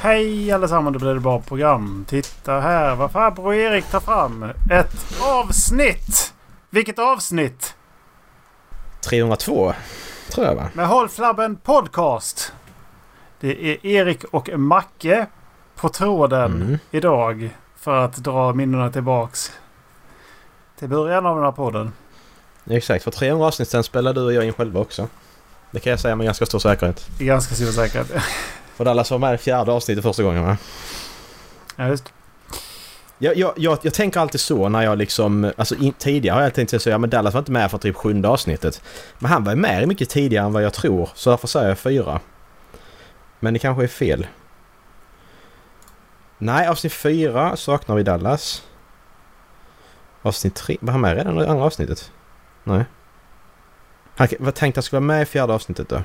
Hej allesammans, det blir det bra program. Titta här vad farbror Erik tar fram. Ett avsnitt! Vilket avsnitt? 302, tror jag va? Med Håll Flabben Podcast. Det är Erik och Macke på tråden Mm. idag. För att dra minnena tillbaks till början av den här podden. Exakt, för 300 avsnitt sen spelade du och jag in själva också. Det kan jag säga med ganska stor säkerhet. Det är ganska stor säkerhet. För alla som var med i fjärde avsnittet första gången va? Ja, just. Jag, jag, jag, jag tänker alltid så när jag liksom, alltså in, tidigare har jag tänkt så, ja men Dallas var inte med för typ sjunde avsnittet. Men han var ju med mycket tidigare än vad jag tror, så därför säger jag fyra. Men det kanske är fel. Nej, avsnitt fyra saknar vi Dallas. Avsnitt tre, var han med redan i andra avsnittet? Nej. Han var tänkt att han skulle vara med i fjärde avsnittet då.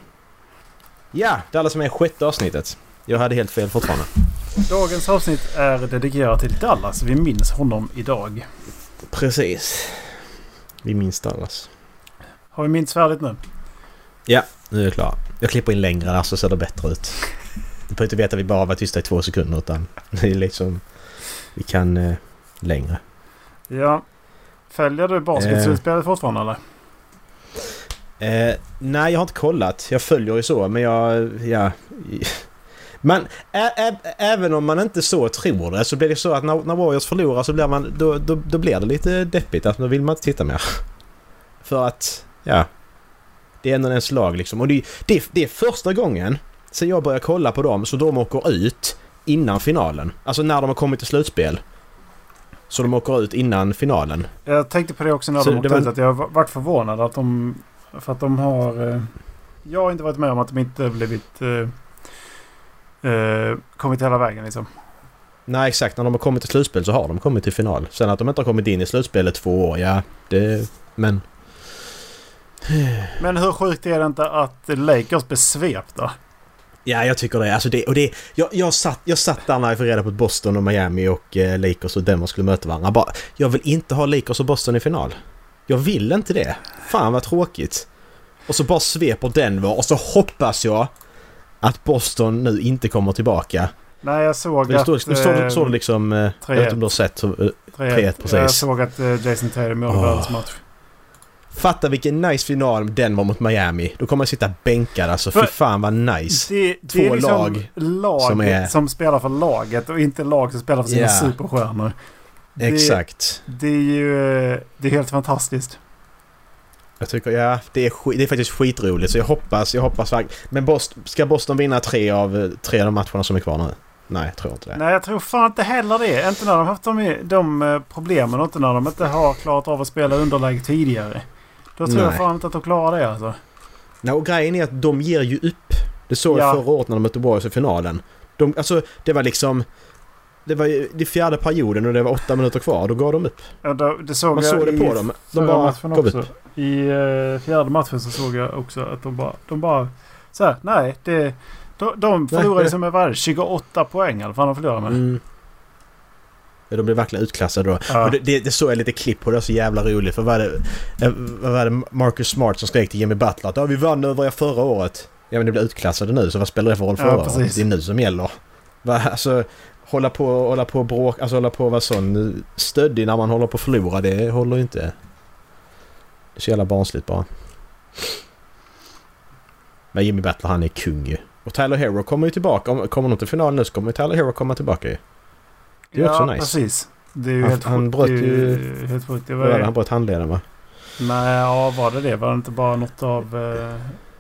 Ja, Dallas var med i sjätte avsnittet. Jag hade helt fel fortfarande. Dagens avsnitt är dedikerat till Dallas. Vi minns honom idag. Precis. Vi minns Dallas. Har vi minns färdigt nu? Nu är jag klar. Jag klipper in längre där så ser det bättre ut. Du behöver inte veta att vi bara var tysta i två sekunder utan det är liksom... Vi kan eh, längre. Ja. Följer du basketslutspelet fortfarande eller? Eh, nej, jag har inte kollat. Jag följer ju så men jag... Ja. Man, ä, ä, även om man inte så tror det så blir det så att när, när Warriors förlorar så blir man... Då, då, då blir det lite deppigt. Alltså, då vill man inte titta mer. För att... Ja. Det är ändå ens lag liksom. Och det, det, det är första gången sen jag började kolla på dem så de åker ut innan finalen. Alltså när de har kommit till slutspel. Så de åker ut innan finalen. Jag tänkte på det också när Så de det åkte var- ut. Att jag har varit förvånad att de... För att de har... eh, Jag har inte varit med om att de inte blivit... eh, eh, kommit hela vägen liksom. Nej exakt, när de har kommit till slutspel så har de kommit till final. Sen att de inte har kommit in i slutspelet två år, ja det... Men... Men hur sjukt är det inte att Lakers blev svepta? Ja jag tycker det. Alltså det, och det jag, jag, satt, jag satt där när jag fick reda på att Boston och Miami och eh, Lakers och Denver skulle möta varandra. Bara, jag vill inte ha Lakers och Boston i final. Jag vill inte det. Fan vad tråkigt. Och så bara sveper Denver och så hoppas jag att Boston nu inte kommer tillbaka. Nej, jag såg Men det att... står, nu står, det- eh, står det liksom... eh, Jag vet inte om du har sett hur, 3-1, precis. Jag såg att eh, Jason Tatum gjorde Åh. världens match. Fatta vilken nice final den var mot Miami. Då kommer jag sitta bänkad alltså. För- Fy fan vad nice. Det, det Två är liksom lag lag som, som är- spelar för laget och inte lag som spelar för sina Ja. superstjärnor. Det, Exakt. Det är ju... eh, Det är helt fantastiskt. Jag tycker, ja, det är, skit, det är faktiskt skitroligt. Så jag hoppas, jag hoppas verkligen. Men Boston, ska Boston vinna tre av eh, tre av de matcherna som är kvar nu? Nej, jag tror inte det. Nej, jag tror fan inte heller det. Inte när de haft de, de eh, problemen och inte när de inte har klarat av att spela underläge tidigare. Då tror jag Nej. fan inte att de klarar det alltså. Nej, och grejen är att de ger ju upp. Det såg Ja. jag förra året när de mötte Warriors i finalen. De, alltså, det var liksom... Det var ju det fjärde perioden och det var åtta minuter kvar. Då gav de upp. Ja, då- Det såg Man jag såg det i på dem. förra De bara matchen gav också. upp. I eh, fjärde matchen så såg jag också att de bara... De bara så här, nej, det, de, de förlorade Nej. som med varje 28 poäng eller vad fan de förlorade med. Mm. Ja, de blev verkligen utklassade då. Ja. Och det, det, det såg jag lite klipp på, det var så jävla roligt. För vad är det, eh, vad var det Marcus Smart som skrek till Jimmy Butler att "Ja, vi vann över er förra året. Ja men ni blev utklassade nu så vad spelar det för roll Ja, förra året? precis. Det är nu som gäller. Va? Alltså, hålla på hålla på och bråk, alltså hålla på och vara sån stöddig när man håller på att förlora, det håller ju inte. Det är så jävla barnsligt bara. Men Jimmy Butler han är kung ju. Och Tyler Hero kommer ju tillbaka. Om, kommer de till finalen nu så kommer ju Tyler Hero komma tillbaka ju. det är också ja, nice. precis. Det är ju Han- helt han sjukt. bröt Det är ju- Helt sjukt. Det var Vad är det? ju... Han bröt handleden va? Nej, ja, var det det? Var det inte bara något av, eh,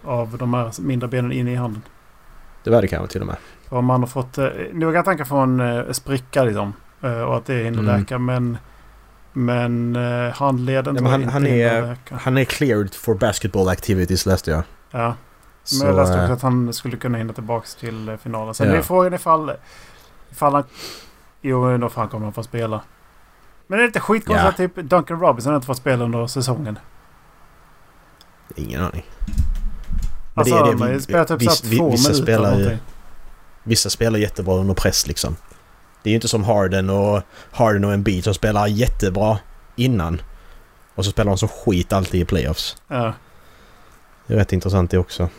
av de här mindre benen in i handen? Det var det kanske till och med. Om man har fått eh, några tankar från eh, spricka liksom. Eh, och att det hinner Mm. läka. Men, men eh, handleden Ja, tror jag men han- inte han är- hinner läka. Han är cleared for basketball activities läste jag. Ja. Men Så, jag läste eh, också att han skulle kunna hinna tillbaka till eh, finalen. Sen Ja. är frågan ifall, ifall han... Jo, då fan kommer han få spela. Men det är lite skitkonstigt Ja. att typ Duncan Robinson inte fått spela under säsongen. Ingen aning. Men Alltså det är det han har ju vi- spelat typ vi- så här vi- två vissa minuter. spelar eller ju- någonting. Vissa spelar jättebra under press liksom. Det är ju inte som Harden och Harden och Embiid som spelar jättebra innan. Och så spelar de som skit alltid i playoffs. Ja. Det är rätt intressant det också.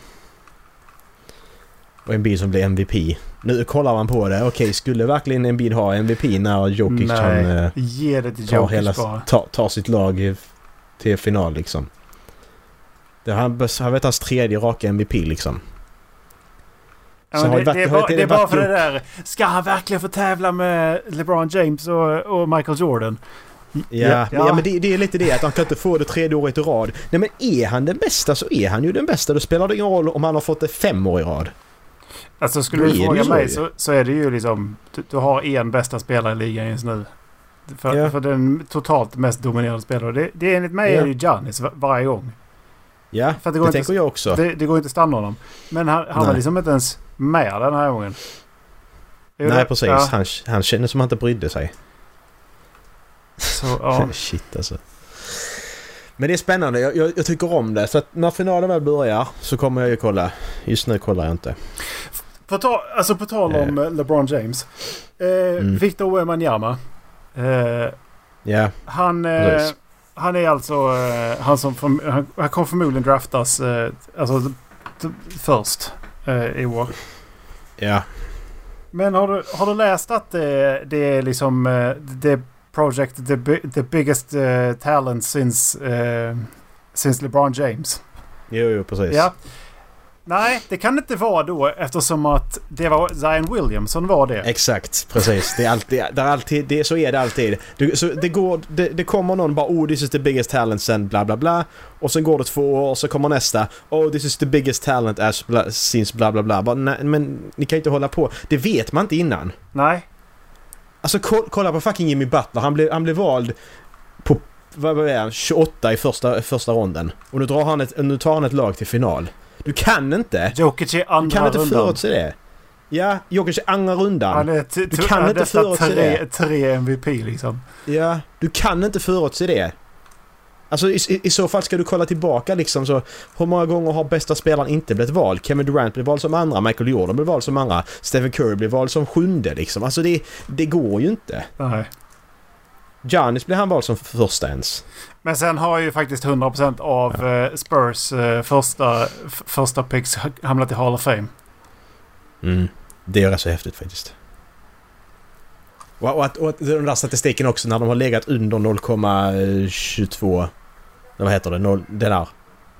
Och Embiid som blir MVP. Nu kollar man på det. Okej, skulle verkligen Embiid ha MVP när Jokic Nej. kan eh, Ge det till ta, Jokic hela, bara. ta, ta sitt lag i- till final liksom. Det här, han vet hans tredje raka MVP liksom. Ja, Så men har det, det det är varit- bara, varit- det är varit bara för det upp- där. Ska han verkligen få tävla med LeBron James och, och Michael Jordan? Ja, Ja. men- ja men det, det är lite det att han kan inte få det tredje året i rad. Nej men är han den bästa så är han ju den bästa. Då spelar det ingen roll om han har fått det fem år i rad. Alltså skulle Då du är det fråga ju så mig ju. så, så är det ju liksom... Du, du har en bästa spelare i ligan just nu. För, Ja. för den totalt mest dominerande spelaren. Det, det är enligt mig Ja. är det ju Giannis var, varje gång. Ja, För att det det, går inte- tänker jag också. Det, det går inte att stanna honom. Men han, han var Nej. liksom inte ens med den här gången. Jo, Nej det- precis, Ja, han, han känner som att han inte brydde sig. så, ja. Shit alltså. Men det är spännande, jag, jag, jag tycker om det. Så att när finalen väl börjar så kommer jag ju kolla. Just nu kollar jag inte. På, ta, alltså på tal om eh, LeBron James. Eh, Mm. Victor Wembanyama. Eh, Ja, han, eh, Precis. han är alltså... Eh, han, som förm- han, han kommer förmodligen draftas eh, alltså, t- t- först eh, i år. ja. Men har du, har du läst att det, det är liksom... Eh, det är project the, bi- the biggest eh, talent since, eh, since LeBron James? Jo, jo precis. Ja. Nej, det kan det inte vara då eftersom att det var Zion Williamson som var det. Exakt, precis. Det är alltid, det är alltid det, så är det alltid. Du, så det, går, det, det kommer någon bara oh this is the biggest talent sen bla bla bla. Och sen går det två år och så kommer nästa. Oh this is the biggest talent as bla, since bla bla bla. Bara, nej, men ni kan ju inte hålla på. Det vet man inte innan. Nej, Alltså ko- kolla på fucking Jimmy Butler. Han blev, han blev vald på vad vad är han, 28 i första, första ronden. Och nu, drar han ett, nu tar han ett lag till final. Du kan inte! Jokic är Du andra kan inte rundan. förutse det. Ja, Jokic är andra rundan. Han är t- Du t- kan han är inte nästan förutse tre, tre MVP liksom. Ja, du kan inte förutse det. Alltså i, i, i så fall ska du kolla tillbaka liksom så hur många gånger har bästa spelaren inte blivit vald? Kevin Durant blev vald som andra, Michael Jordan blev vald som andra, Stephen Curry blev vald som sjunde liksom. Alltså det, det går ju inte. Nej. Giannis blev han vald som första ens. Men sen har ju faktiskt 100% av eh, Spurs eh, första, f- första picks ha- hamnat i Hall of Fame. Mm. Det är rätt så häftigt faktiskt. Och, och, att, och att den där statistiken också när de har legat under 0,22... Vad heter det? 0, det där.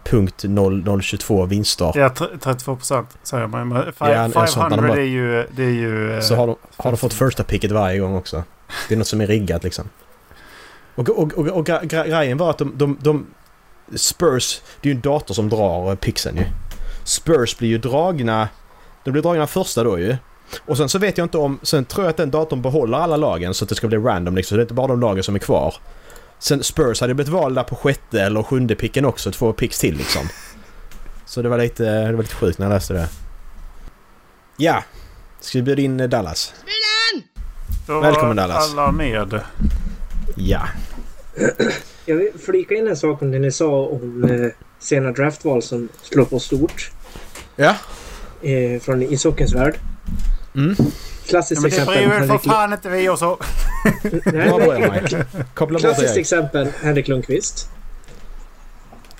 Punkt 0,022 vinster. Ja, tr- 32% säger man. Men fi- Ja, en- en sån där de 500 bara- är ju... Det är ju eh, Så har de, har de fått första picket varje gång också. Det är något som är riggat liksom. Och, och, och, och gra- gra- grejen var att de, de, de... Spurs, det är ju en dator som drar pixen ju. Spurs blir ju dragna... De blir dragna första då ju. Och sen så vet jag inte om... Sen tror jag att den datorn behåller alla lagen så att det ska bli random liksom. Så det är inte bara de lagen som är kvar. Sen Spurs hade blivit valda på sjätte eller sjunde picken också. Två picks till liksom. Så det var lite, det var lite sjukt när jag läste det. Ja! Ska vi bjuda in eh, Dallas? då var Välkommen, Dallas. Alla med. Ja. Jag vill flika in en sak om det ni sa om eh, sena draftval som slår på stort Ja. eh, från ishockeyns värld. Mm. Ja, Klassiskt men det exempel. bryr för Henrik, fan inte vi oss om. nej, Bra nej, början Mike. Koppla bort klassiskt dig. exempel Henrik Lundqvist.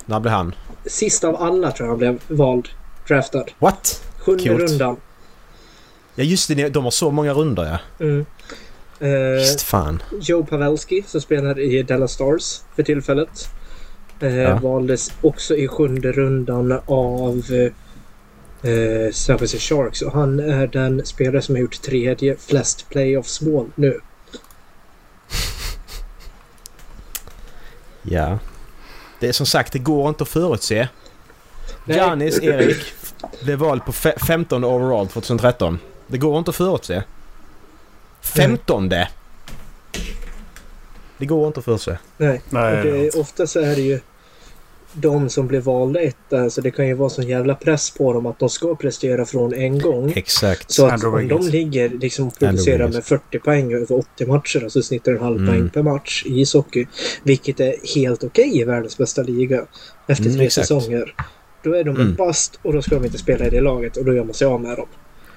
När blev han? Sist av alla tror jag han blev vald, draftad. What? Sjunde Coolt. rundan. Ja just det, ni- de har så många runder ja. Mm. Eh, Just fan. Joe Pavelski som spelar i Dallas Stars för tillfället. Eh, Ja. Valdes också i sjunde rundan av eh, eh, San Jose Sharks och han är den spelare som har gjort tredje flest playoffs-mål nu. Ja. Det är som sagt, det går inte att förutse. Nej. Janis Erik blev vald på fe- 15 overall 2013. Det går inte att förutse. 15! Det går inte att förutse. Nej. Och Nej, det, ofta så är det ju de som blir valda etta så det kan ju vara sån jävla press på dem att de ska prestera från en gång. Exakt. Så att Andrew om de Wiggins. ligger liksom och producerar Wiggins. med 40 poäng över 80 matcher, alltså snittar en halv Mm. poäng per match i ishockey, vilket är helt okej i världens bästa liga efter Mm, tre exakt. säsonger. Då är de en Mm. bast och då ska de inte spela i det laget och då gör man sig av med dem.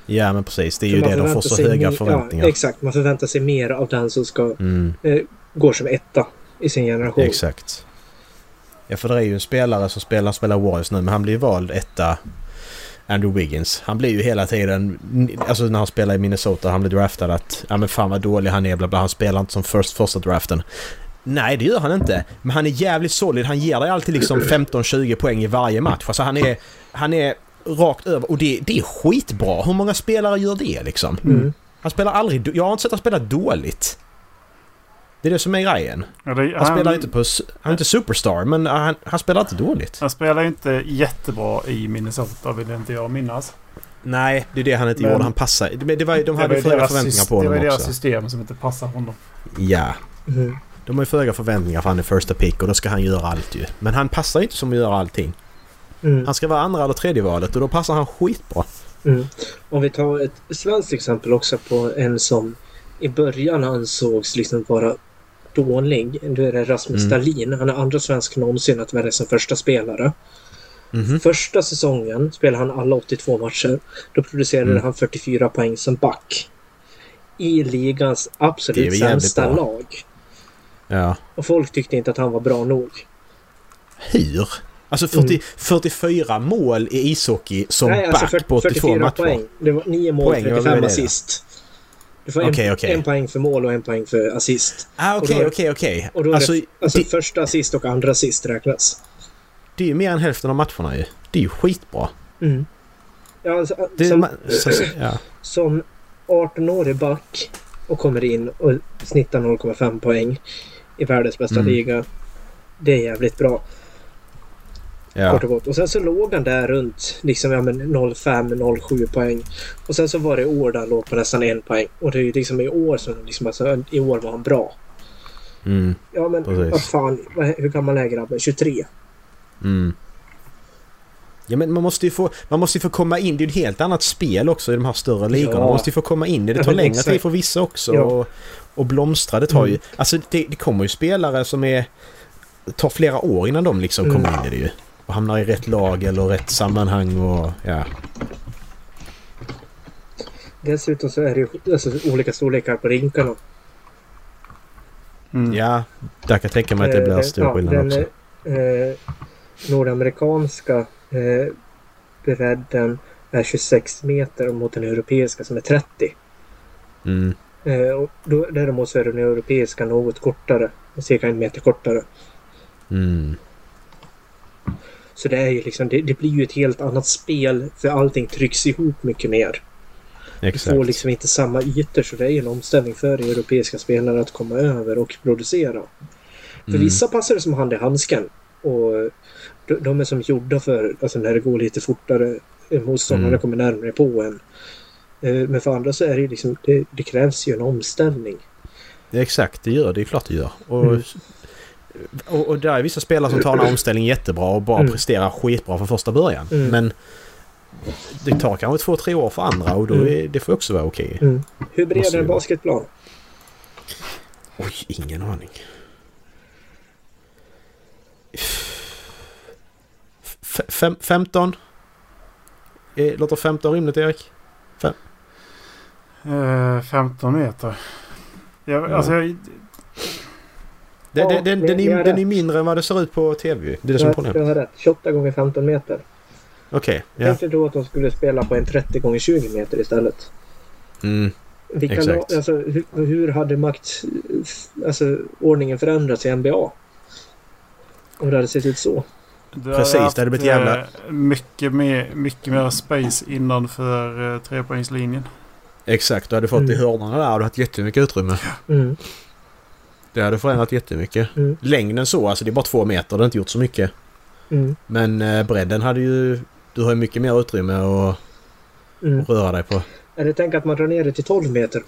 Ja men precis, det är ju För man det. De får förväntar så sig höga mer- förväntningar. Ja, exakt, man förväntar sig mer av den som ska, Mm. eh, går som etta i sin generation. Exakt. Ja, för det är ju en spelare som spelar, spelar Warriors nu, men han blir ju vald etta Andrew Wiggins. Han blir ju hela tiden, alltså när han spelar i Minnesota, han blir draftad att ja men fan vad dålig han är, bla bla, han spelar inte som first, första draften. Nej, det gör han inte. Men han är jävligt solid. Han ger dig alltid liksom 15-20 poäng i varje match. Alltså han är, han är rakt över och det, det är skitbra. Hur många spelare gör det liksom? Mm. Han spelar aldrig... do- Jag har inte sett han spela dåligt. Det är det som är grejen. Ja, det, Han, spelar inte på... s- Han är inte superstar, men äh, han, han spelar inte dåligt. han spelar ju inte jättebra i Minnesota vill inte jag minnas. Nej, det är det han inte Men- gjorde. Han passar. Men det var, ju- de hade var ju ju föga deras förväntningar syst- på Det var honom ju deras också. system som inte passar honom. Ja. Mm. De har ju föga förväntningar för han är första pick och då ska han göra allt ju. Men han passar ju inte som att göra allting. Mm. Han ska vara andra eller tredje valet och då passar han skitbra. Mm. Om vi tar ett svenskt exempel också på en som i början ansågs liksom vara dålig. Det är Rasmus Mm. Dahlin. Han är andra svensk någonsin att välja som första spelare. Mhm. Första säsongen spelade han alla 82 matcher. Då producerade Mm. han 44 poäng som back. I ligans Det är absolut väl jävligt sämsta bra. lag. Ja. Och folk tyckte inte att han var bra nog. Hur? Alltså 40, 44 mål i ishockey som back på 82 matcher. alltså, poäng. Det var 9 mål, Poäng, vad var 35 det då? assist. Du får en, Okej, okej. en poäng för mål och en poäng för assist. Ah, Och okej, då- okej, okej. och då är Alltså, Alltså det, första assist och andra assist räknas. det är ju mer än hälften av matcherna ju. Det är ju skitbra. Mm. Ja, alltså, Det är, som, ma- så, så, ja. som 18-årig back och kommer in och snittar 0,5 poäng i världens bästa Mm. liga. Det är jävligt bra. Ja. Kort och gott. Och sen så låg han där runt liksom, ja, men 0,5-0,7 poäng. Och sen så var det år där han låg på nästan en poäng. Och det är ju liksom i år som liksom, alltså, i år var han bra. Mm, Ja men Precis. vad fan, vad- hur gammal är grabben? 23? mm. Ja, men man måste ju få, man måste ju få komma in. Det är ju ett helt annat spel också i de här större ligorna. Man måste ju få komma in. i Det Ja, tar men längre exakt. tid för vissa också. Ja. Och, och blomstra, det tar ju... Mm. Alltså det, det kommer ju spelare som är... tar flera år innan de liksom Mm. kommer in i det ju. Och hamnar i rätt lag eller rätt sammanhang och ja. Dessutom så är det ju alltså, olika storlekar på rinkarna. Mm. Ja, där kan jag tänka mig att det blir Eh, stor ja, skillnad den, också. Eh, nordamerikanska eh, bredden är 26 meter mot den europeiska som är 30. Mm. Eh, och då, däremot så är den europeiska något kortare. Cirka en meter kortare. Mm. Så det är ju liksom, det, det blir ju ett helt annat spel för allting trycks ihop mycket mer. Du Exakt. får liksom inte samma ytor så det är ju en omställning för europeiska spelare att komma över och producera. För Mm. vissa passar det som hand i handsken. Och de, de är som gjorda för, alltså när det går lite fortare, eh, motståndarna Mm. kommer närmare på en. Eh, Men för andra så är det ju liksom, det, det krävs ju en omställning. Exakt, det gör det. Det är klart det gör. Och, Mm. och, och där är vissa spelare som tar den här omställningen jättebra och bara Mm. presterar skitbra från första början. Mm. Men det tar kanske två, tre år för andra och då Mm. är, det får också vara okej. Hur bred Måste är en ju vara. basketplan? Oj, ingen aning. F- fem, 15? Eh, Låter 15 rimligt, Erik? Eh, 15 meter. Jag, Ja. alltså, jag, Det, Ja, det, den, det- den, det är är, den är rätt. mindre än vad det ser ut på TV. Det är det som är Jag, problemet. jag har rätt. 28 gånger 15 meter. Okej, ja. Tänk dig då att de skulle spela på en 30 gånger 20 meter istället. Mm. Vilka Exakt. lag- alltså, hur, hur hade makt, alltså, ordningen förändrats i NBA? Om det hade sett ut så. du Precis, hade det hade blivit haft, jävla- eh, Mycket mer, mycket mer space innanför eh, trepoängslinjen. Exakt, du hade fått i Mm. hörnorna där och du hade jättemycket utrymme. Mm. Det hade förändrat jättemycket. Mm. Längden så, alltså det är bara två meter, det har inte gjort så mycket. Mm. Men eh, bredden hade ju... Du har ju mycket mer utrymme att Mm. att röra dig på. Eller tänk att man drar ner det till 12 meter.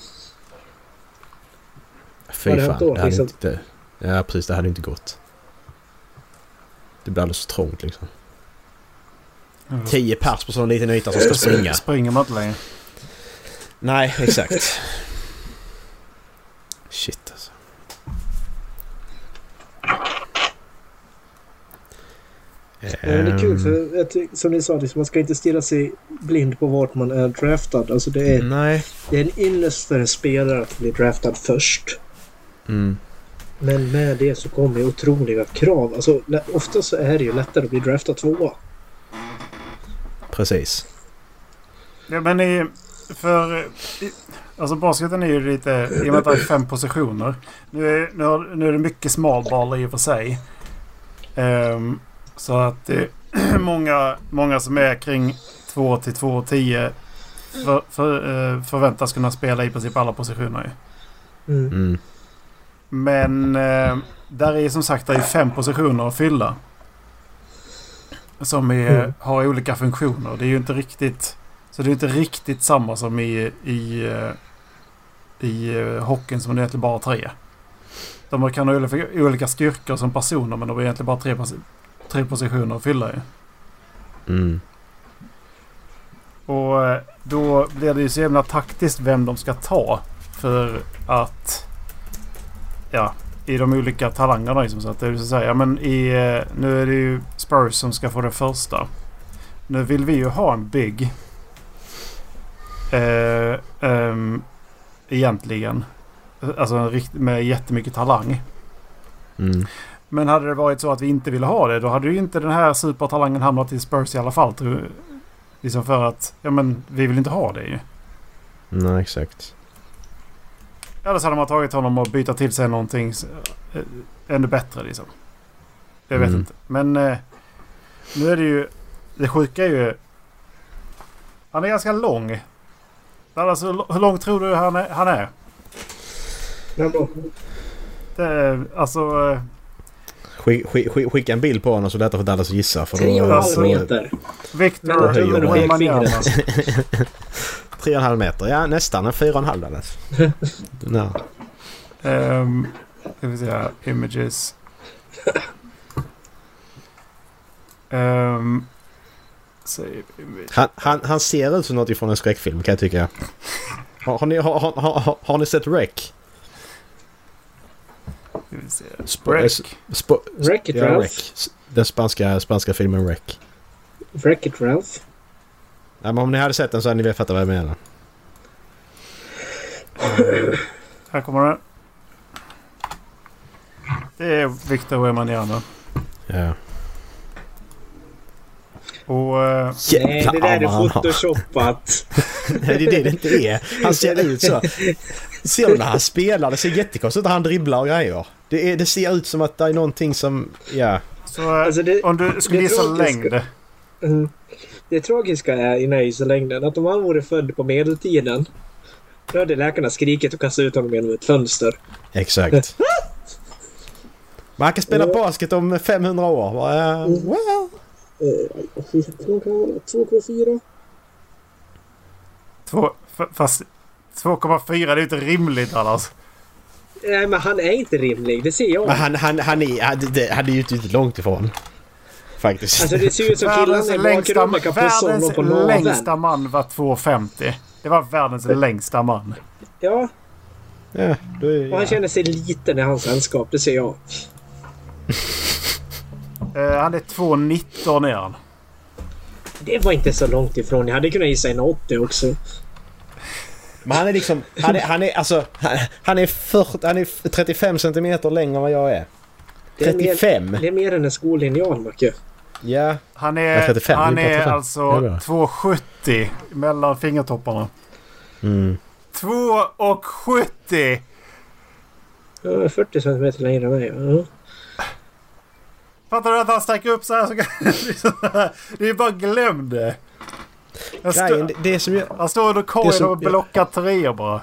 Fy Vad fan, hade hänt då, det hade liksom? inte... Ja, precis, det hade inte gått. Det blir alldeles för trångt liksom. Mm. Tio pers på sån liten yta som ska springa. Springer man inte längre. Nej, exakt. Shit alltså. Eh, Det är kul Ehm. för jag ty- som ni sa, liksom, man ska inte stirra sig blind på vart man är draftad. Alltså det, är, Ehm, Nej. det är en ynnest för en spelare att bli draftad först. Mm. Men med det så kommer ju otroliga krav. Alltså, lä- ofta så är det ju lättare att bli draftad tvåa. Precis. Ja, men i, för... I, alltså basketen är ju lite... I och med att det är fem positioner. Nu är, nu har, nu är det mycket smalbal i och för sig. Ehm, så att det är många, många som är kring 2 till 2 och 10 för, för, eh, förväntas kunna spela i princip alla positioner. ju. Mm. Mm. Men eh, där är som sagt det är fem positioner att fylla. Som är, Mm. har olika funktioner. Det är ju inte riktigt... Så det är inte riktigt samma som i, i, eh, i eh, hockeyn som det är egentligen bara tre. De kan ha olika- olika styrkor som personer men de är egentligen bara tre, posi- tre positioner att fylla i. Mm. Och eh, då blir det ju så jävla taktiskt vem de ska ta. För att... Ja, i de olika talangerna liksom. Så att det vill säga, ja, men i, eh, nu är det ju Spurs som ska få den första. Nu vill vi ju ha en big. Eh, ehm, egentligen. Alltså en rikt- med jättemycket talang. Mm. Men hade det varit så att vi inte ville ha det då hade ju inte den här supertalangen hamnat i Spurs i alla fall. tror- Liksom för att, ja men vi vill inte ha det ju. Nej, exakt. Eller så hade man tagit honom och byta till sig någonting s- eh, ännu bättre liksom. Jag vet Mm. inte. Men eh, nu är det ju... Det sjuka är ju... Han är ganska lång. Alltså, l- hur lång tror du han är? Han är? Men bra. Det är alltså... eh, Skick, skick, skick, skicka en bild på honom så det är lättare för Dallas att gissa. För då, Tre och en halv alltså- meter. Victor Mellan tummen och Wembanyama. pekfingret. Tre och en halv meter. Ja, nästan. En fyra och en halv Dallas. Nej. Um, ska vi se här. Images. Ehm, save image. Han, han, han ser ut som något ifrån en skräckfilm kan jag tycka. Har, har, ni, har, har, har, har ni sett Wreck? Ska vi se. Sp- eh, Break. sp- Wreck-It ja, Ralph. Wreck. S- Den spanska, spanska filmen Wreck. Wreck-It Ralph. Ja, men om ni hade sett den så hade ni vetat vad jag menar. Här kommer den. Det är Victor Wembanyama. Ja. Och eh, Nej, det där armar han är har. photoshopat. Nej, det är det det inte är. Han ser ut så. Ser du när han spelar? Det ser jättekonstigt ut när han dribblar och grejer. Det, är, det ser ut som att det är någonting som... Ja. så, eh, Alltså det, om du skulle det gissa tragiska- längd. Mm. Det tragiska är i nöjeslängden att om han vore född på medeltiden då hade läkarna skrikit och kastat ut honom genom ett fönster. Exakt. Men han kan spela Ja. basket om 500 år. Bara, eh, Well. Eh, vad kan han vara? 2,4? Två, f- fast 2,4 det är ju inte rimligt annars. Nej, men han är inte rimlig. Det ser jag. Men han, han, han, är, han, det, han är ju inte inte långt ifrån. Faktiskt. Alltså det ser ut som Världens killarna i längsta, bakrummet kan pussa honom världens på naveln. längsta man var 2,50. Det var världens längsta man. Ja, ja, då är, och han ja. känner sig liten i hans sällskap. Det ser jag. Eh, han är 2,19 är han. Det var inte så långt ifrån. Jag hade kunnat gissa en 80 också. Men han är liksom... Han är, han är, alltså, han, han, är 40, han är 35 centimeter längre än vad jag är. Det är mer- 35? Det är mer än en skolinjal, Macke. Ja. Han Ja, är, 35, han det är är 35. alltså Det är bra. 2,70 mellan fingertopparna. Mm. 2,70! Ja, 40 centimeter längre än mig. Ja. Fattar du att han sträcker upp så här? Så kan... det är ju bara glöm det. Han, stå... Grejen, det, det som jag, han står under korgen Det som- och blockar treor bara.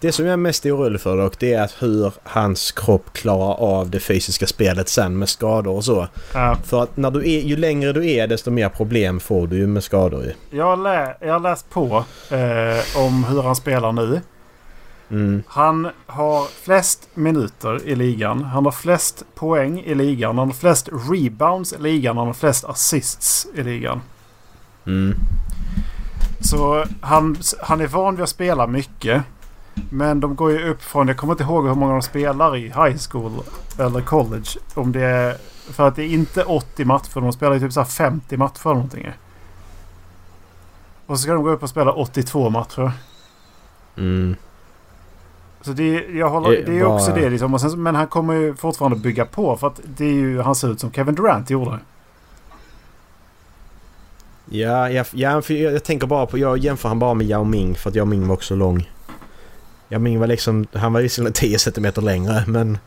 Det som jag är mest orolig för dock, det är att hur hans kropp klarar av det fysiska spelet sen med skador och så. Ja, För att när du är, ju längre du är desto mer problem får du ju med skador ju. jag, har lä... jag har läst på eh, om hur han spelar nu. Mm. Han har flest minuter i ligan. Han har flest poäng i ligan. Han har flest rebounds i ligan. Han har flest assists i ligan. Mm. Så han, han är van vid att spela mycket. Men de går ju upp från, jag kommer inte ihåg hur många de spelar i high school eller college. Om det är, för att det är inte 80 matcher, de spelar ju typ så här 50 matcher eller någonting. Och så ska de gå upp och spela 82 matcher. Mm. Så det, är- jag håller, Det är det är ju också Eh, bara- det liksom. Och sen, så- men han kommer ju fortfarande bygga på för att det är ju, han ser ut som Kevin Durant gjorde. Ja, jag, ja, för jag, jag tänker bara på... Jag jämför han bara med Yao Ming för att Yao Ming var också lång. Yao Ming var liksom... Han var visserligen 10 cm längre men...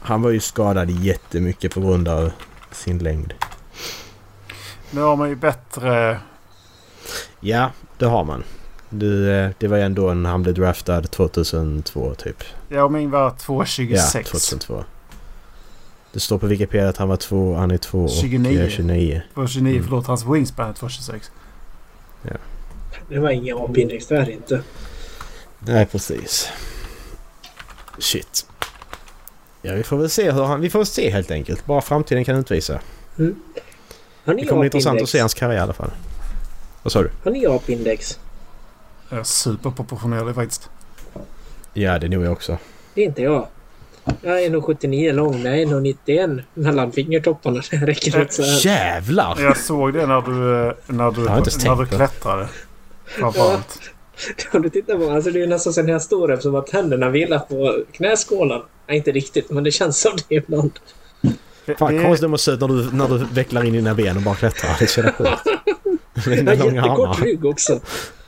Han var ju skadad jättemycket på grund av sin längd. Nu har man ju bättre... Ja, det har man. Du, eh, det var ju ändå när han blev draftad 2002 typ. Ja, min var 2,26. Ja, 2002. Det står på Wikipedia att han var två, han är två och 29. eh, 29. 2,29. Mm. Förlåt, hans wingspan är 2,26. Det var ingen apinrikt där inte. Nej, precis. Shit. Ja, vi får väl se hur han... Vi får se helt enkelt. Bara framtiden kan utvisa. Han Det är kommer bli intressant att apindex. se hans karriär i alla fall. Vad sa du? Han är apindex. Jag är superproportionerlig faktiskt. Ja, det är nog jag också. Det är inte jag. Jag är nog 79 lång, nej, nog 91 mellan fingertopparna. Det räcker rätt så här. Jävlar! Jag såg det när du, eh, när du, Jag har inte ens när du tänkt på det. klättrade. Framförallt. Om du tittar på mig, alltså det är nästan så när jag står där som att händerna vilar på knäskålen. Nej, inte riktigt, men det känns som det ibland. Fan, Det- konstigt om man ser ut när du, när du vecklar in dina ben och bara klättrar. Det är så jävla sjukt. Med Jag dina har långa jättekort armar. rygg också.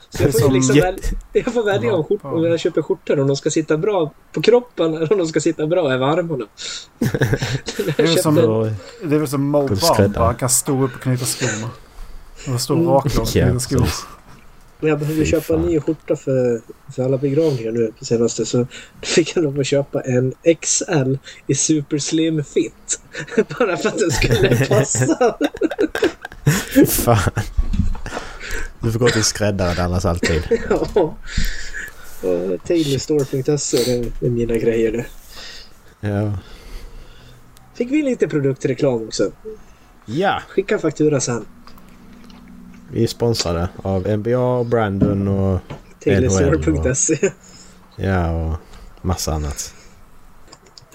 Så jag får, Som liksom jätte- väl, jag får välja om, skjort, om jag köper skjortor om de ska sitta bra på kroppen eller om de ska sitta bra över armarna. Det är väl som, Så, det är väl som Mo Kunde Bamba. skräddare. Han kan stå upp och knyta skorna. Han står Mm. raklång och ja, knyter skor. precis. Men jag behöver Fy köpa en fan. ny skjorta för, för alla begravningar nu på senaste. Så fick jag lov att köpa en XL i super slim fit. Bara för att den skulle passa. Fan. Du får gå till skräddaren annars alltid. ja. Och Tailorstore.se, det är mina grejer det. Ja. Fick vi lite produktreklam också. ja, Skicka faktura sen. vi är sponsrade av NBA och Brandon och Tailorstore.se. ja och massa annat.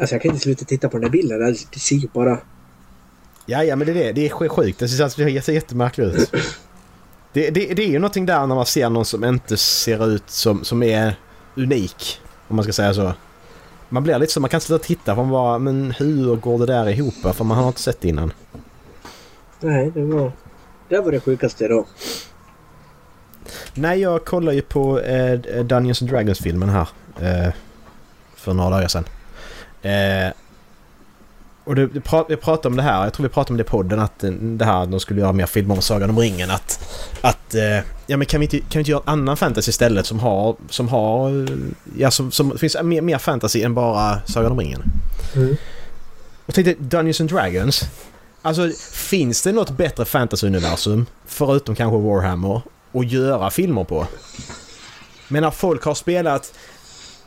Alltså jag kan inte sluta titta på den där bilden. Det ser ju bara... Ja, ja men det är det. Det är sj- sjukt. Det ser, alltså, det ser jättemärkligt ut. Det, det, det är ju någonting där när man ser någon som inte ser ut som, som är unik. Om man ska säga så. Man blir lite så, man kan sitta och titta för man bara, men hur går det där ihop? För man har inte sett det innan. Nej, det var... Det var det sjukaste idag. Nej, jag kollar ju på eh, Dungeons and Dragons-filmen här. Eh, för några dagar sedan. Eh, och det, det pra- jag pratade om det här, jag tror vi pratade om det i podden, att eh, det här de skulle göra mer filmer om Sagan om ringen. Att, att eh, ja men kan vi, inte, kan vi inte göra en annan fantasy istället som har, som har, eh, ja som, som det finns mer, mer fantasy än bara Sagan om ringen. Mm. Jag tänkte Dungeons and Dragons. Alltså finns det något bättre fantasy-universum förutom kanske Warhammer att göra filmer på? Men när folk har spelat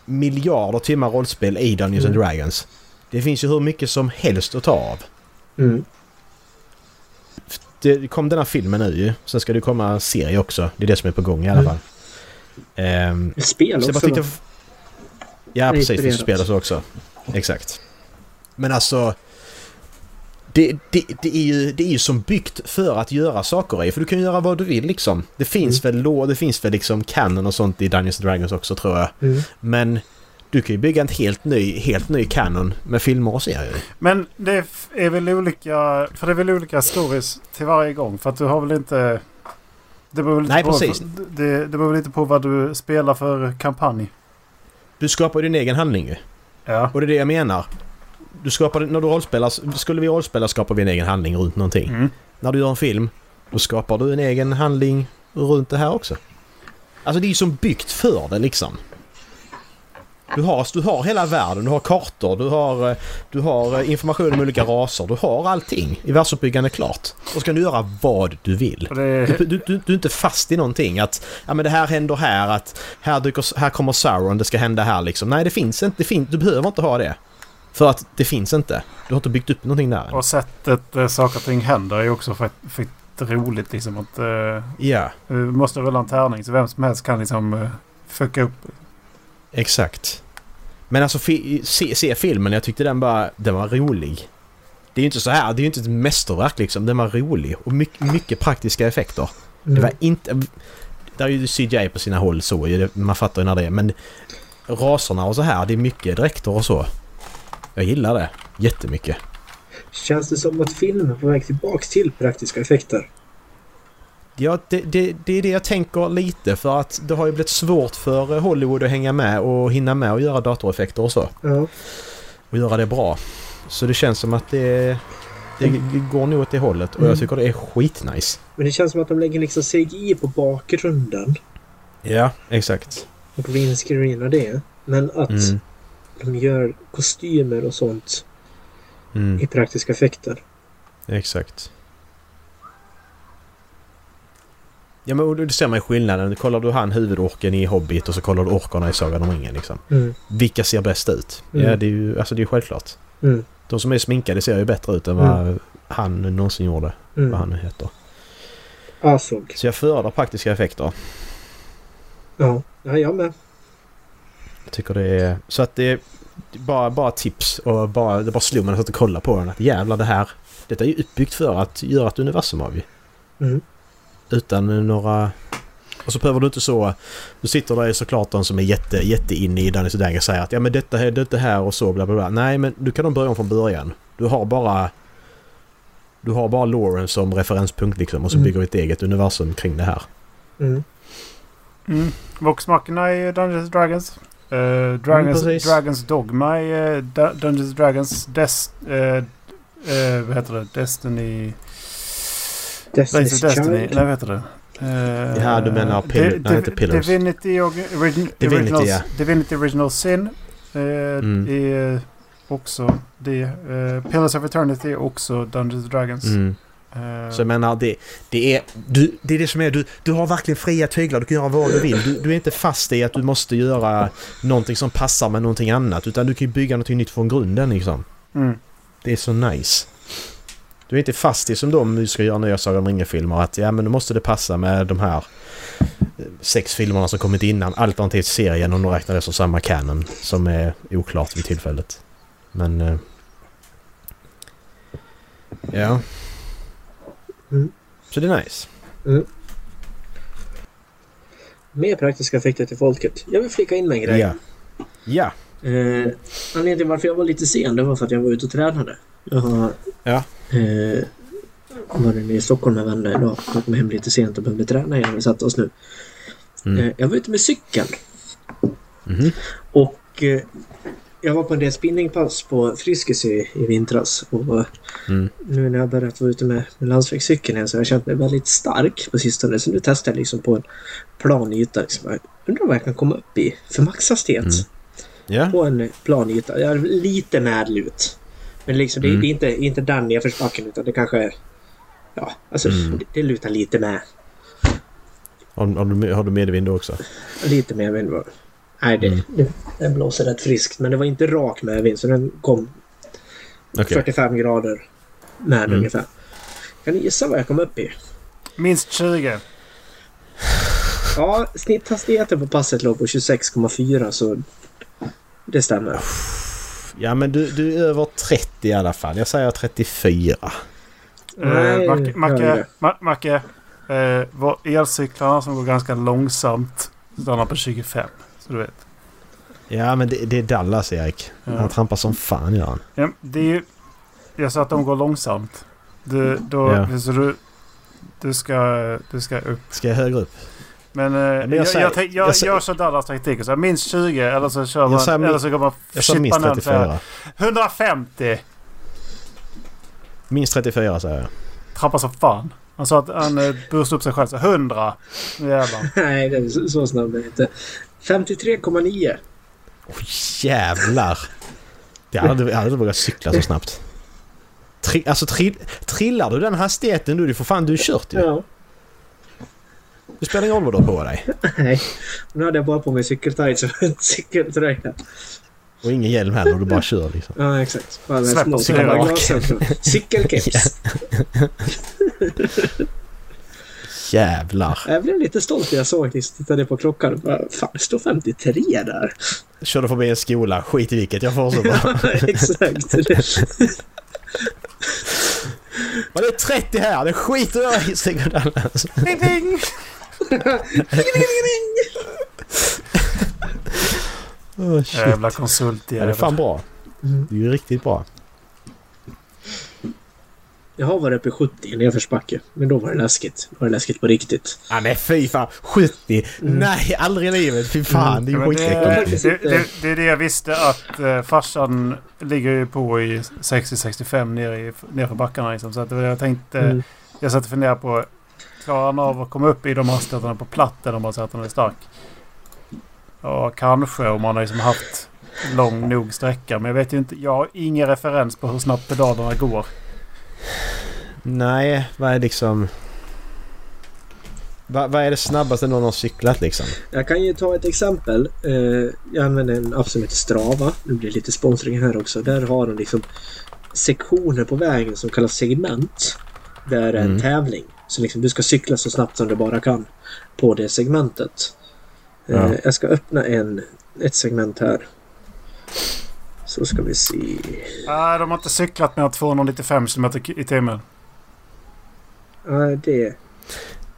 miljarder timmar rollspel i Dungeons and Dragons. Det finns ju hur mycket som helst att ta av. Mm. Det kom den här filmen nu ju. Sen ska det komma en serie också. Det är det som är på gång i alla fall. Ehm, Spel så också. jag bara tyckte... va? Ja, är precis. Det inspirerat. spelas också. Exakt. Men alltså... Det, det, det, är ju, det är ju som byggt för att göra saker i. För du kan ju göra vad du vill liksom. Det finns väl lå, det finns väl liksom canon och sånt i Dungeons and Dragons också tror jag. Mm. Men du kan ju bygga en helt ny, helt ny canon med filmer och serier. Men det är f- är väl olika... För det är väl olika stories till varje gång. För att du har väl inte... Det beror väl lite, Nej, på, precis. Det, det beror väl lite på vad du spelar för kampanj. Du skapar ju din egen handling ju. Ja. Och det är det jag menar. Du skapar, när du rollspelar, skulle vi rollspela skapar vi en egen handling runt någonting. Mm. När du gör en film, då skapar du en egen handling runt det här också. Alltså det är ju som byggt för det liksom. Du har, du har hela världen, du har kartor, du har, eh, du har eh, information om olika raser, du har allting i världsuppbyggande klart. Och så kan du göra vad du vill. Och det, Du, du, du, du är inte fast i någonting att ja, men det här händer här, att här, dyker, här kommer Sauron, det ska hända här liksom. Nej, det finns inte. Det fin, du behöver inte ha det. För att det finns inte. Du har inte byggt upp någonting där än. och sättet eh, saker och ting händer är ju också fett, fett roligt. Liksom, att, eh, Ja, du måste rulla en tärning så vem som helst kan liksom eh, fucka upp. exakt. Men alltså fi, se, se filmen, jag tyckte den bara, den var rolig. Det är ju inte så här, det är ju inte ett mästerverk liksom. Den var rolig och mycket, mycket praktiska effekter. Mm. Det var inte... Där är ju CGI på sina håll så ju, det- man fattar ju när det är. Men raserna och så här, det är mycket dräkter och så. Jag gillar det jättemycket. Känns det som att filmen är på väg tillbaks till praktiska effekter? Ja, det, det, det är det jag tänker lite för att det har ju blivit svårt för Hollywood att hänga med och hinna med och göra datoreffekter och så. Ja. Och göra det bra. Så det känns som att det, det Mm. går nog åt det hållet och jag tycker det är skitnice. Men det känns som att de lägger liksom CGI på bakgrunden Ja, exakt. och greenscreenar det. Men att Mm. de gör kostymer och sånt Mm, i praktiska effekter. exakt. Ja men och du ser man ju skillnaden. Kollar du han huvudorken i Hobbit och så kollar du orkarna i Sagan om ringen liksom. Mm. Vilka ser bäst ut? Mm. Ja, det är ju alltså, det är ju självklart. Mm. De som är sminkade ser ju bättre ut än vad han någonsin gjorde. Mm. Vad han nu heter. Asog. Så jag föredrar praktiska effekter. Ja. ja, jag med. Jag tycker det är... Så att det är bara, bara tips och bara, det bara slog mig när jag satt och kollade på den att jävlar det här... Detta är ju uppbyggt för att göra ett universum av ju. Mm. Utan några... Och så behöver du inte så... Du sitter där ju såklart de som är jätte, jätteinne i Danny Sudanka och säger att ja men detta här, detta här och så bla bla bla. Nej men du kan de börja om från början. Du har bara... Du har bara Lauren som referenspunkt liksom och så Mm. bygger du ett eget universum kring det här. Mm. Mm. Voxmacherna är Dungeons and Dragons. Eh, Dragons, Mm, precis. Dragons Dogma är eh, Du- Dungeons and Dragons Des, eh, eh, vad heter det? Destiny... Destiny's Destiny. Destiny. Child. Nej, vad heter det? Eh, Ja, du menar Pill- Di- nej, Di- inte Pillars. Divinity, och, origin, Divinity, original, ja. Divinity Original Sin. eh, Mm. Är också det. Eh, Pillars of Eternity är också Dungeons and Dragons. Mm. Eh, Så jag menar det, det är... Du, det är det som är... Du, du har verkligen fria tyglar. Du kan göra vad du vill. Du, du är inte fast i att du måste göra någonting som passar med någonting annat. Utan du kan ju bygga någonting nytt från grunden liksom. mm. Det är så nice. Du är inte fast i som de nu ska göra nya Sagan om ringen-filmer att ja men nu måste det passa med de här eh, sex filmerna som kommit innan alternativt serien om de räknar det som samma canon som är oklart vid tillfället. Men... eh, Ja. Mm. Så det är nice. Mer praktiska effekter till folket. Jag vill flika in med en grej. Ja. Ja. Eh, anledningen till varför jag var lite sen det var för att jag var ute och tränade. Jag har Ja. eh, varit nere i Stockholm med vänner idag. Jag kom hem lite sent och behövde träna innan vi satte oss nu. Mm. Eh, jag var ute med cykeln Mhm. och eh, jag var på en del spinningpass på Friskis i, i vintras. Och, eh, Mm. Nu när jag börjat vara ute med, med landsvägscykeln igen så har jag känt mig väldigt stark på sistone. Så nu testar jag liksom på en plan yta. Liksom. Jag undrar vad jag kan komma upp i för maxhastighet Mm. Ja. på en plan yta. Jag är lite närlut. Men liksom, det, Mm. det är inte, inte där nedförsbacken utan det kanske är... Ja, alltså Mm. det, det lutar lite med. Har, har, du, har du medvind då också? Lite med vind var Nej, det, Mm. det, den blåser rätt friskt. Men det var inte rak med vind så den kom Okej. 45 grader med Mm. ungefär. Kan ni gissa vad jag kom upp i? Minst 20. Ja, snitthastigheten på passet låg på 26,4 så det stämmer. Ja men du, du är över 30 i alla fall. Jag säger 34. Eh, Mac- högre. Macke, Ma- Macke eh, var elcyklarna som går ganska långsamt stannar på 25. Så du vet. Ja men det, det är Dallas Erik. Ja. Han trampar som fan gör han. Ja, det är ju, jag sa att de går långsamt. Du, då, Ja. så du, du, ska, du ska upp. Ska jag högre upp? Men, eh, jag, men jag jag, säger- jag, tänk- jag, jag säger- gör så Dallas taktik. Så här, minst 20 eller så kör man. säger min- eller så går man Jag sa minst chippa ner så här, 34. 150! Minst 34 säger jag. Trappar som fan. Han sa att han eh, boostade upp sig själv. Så 100! Nu Jävlar. Nej, det är så, så snabb är det inte. 53,9. Åh jävlar! Jag hade, jag hade inte vågat cykla så snabbt. Tri, alltså tri, trillar du den hastigheten du, är det för fan du är kört ju. Ja. Det spelar ingen roll vad du har på dig. Nej, nu hade jag bara på mig cykeltights och en cykeltröja. Och ingen hjälm heller, du bara kör liksom. Ja, exakt. Bara Släpp små oss gröna tillbaka. glasen. Cykelkeps. Jävlar! Jag blev lite stolt när jag såg det. Tittade på klockan och bara, fan, det står 53 där. Körde förbi en skola, skit i vilket, jag fortsätter. exakt. Men det är 30 här, det skiter jag i! säger Dallas. Ding, ding! Åh, shit. Jävla konsult Ja, det är fan bra. Mm. Det är ju riktigt bra. Jag har varit uppe i 70 i nedförsbacke, men då var det läskigt. Då var det läskigt på riktigt. Ja, men fy fan. 70? Nej, aldrig i livet. Fy fan, det är ju Ja, men skitäckligt. det, det, det, det är det jag visste att eh, farsan ligger ju på i 60-65 nere, i, nere för backarna. Liksom, så att det var det jag tänkte. Mm. Jag satt och funderade på. Klarar han av att komma upp i de hastigheterna på platt eller om man säger att han är stark? Ja, kanske om man har liksom haft lång nog sträcka. Men jag vet ju inte. Jag har ingen referens på hur snabbt pedalerna går. Nej, vad är liksom... Vad, vad är det snabbaste någon har cyklat liksom? Jag kan ju ta ett exempel. Eh, Jag använder en app som heter Strava. Nu blir det lite sponsring här också. Där har de liksom sektioner på vägen som kallas segment. Där är en Mm. tävling. Så liksom du ska cykla så snabbt som du bara kan på det segmentet. Eh, Ja. Jag ska öppna en, ett segment här. Så ska vi se. Nej, de har inte cyklat mer än 295 km i timmen. Ja, det.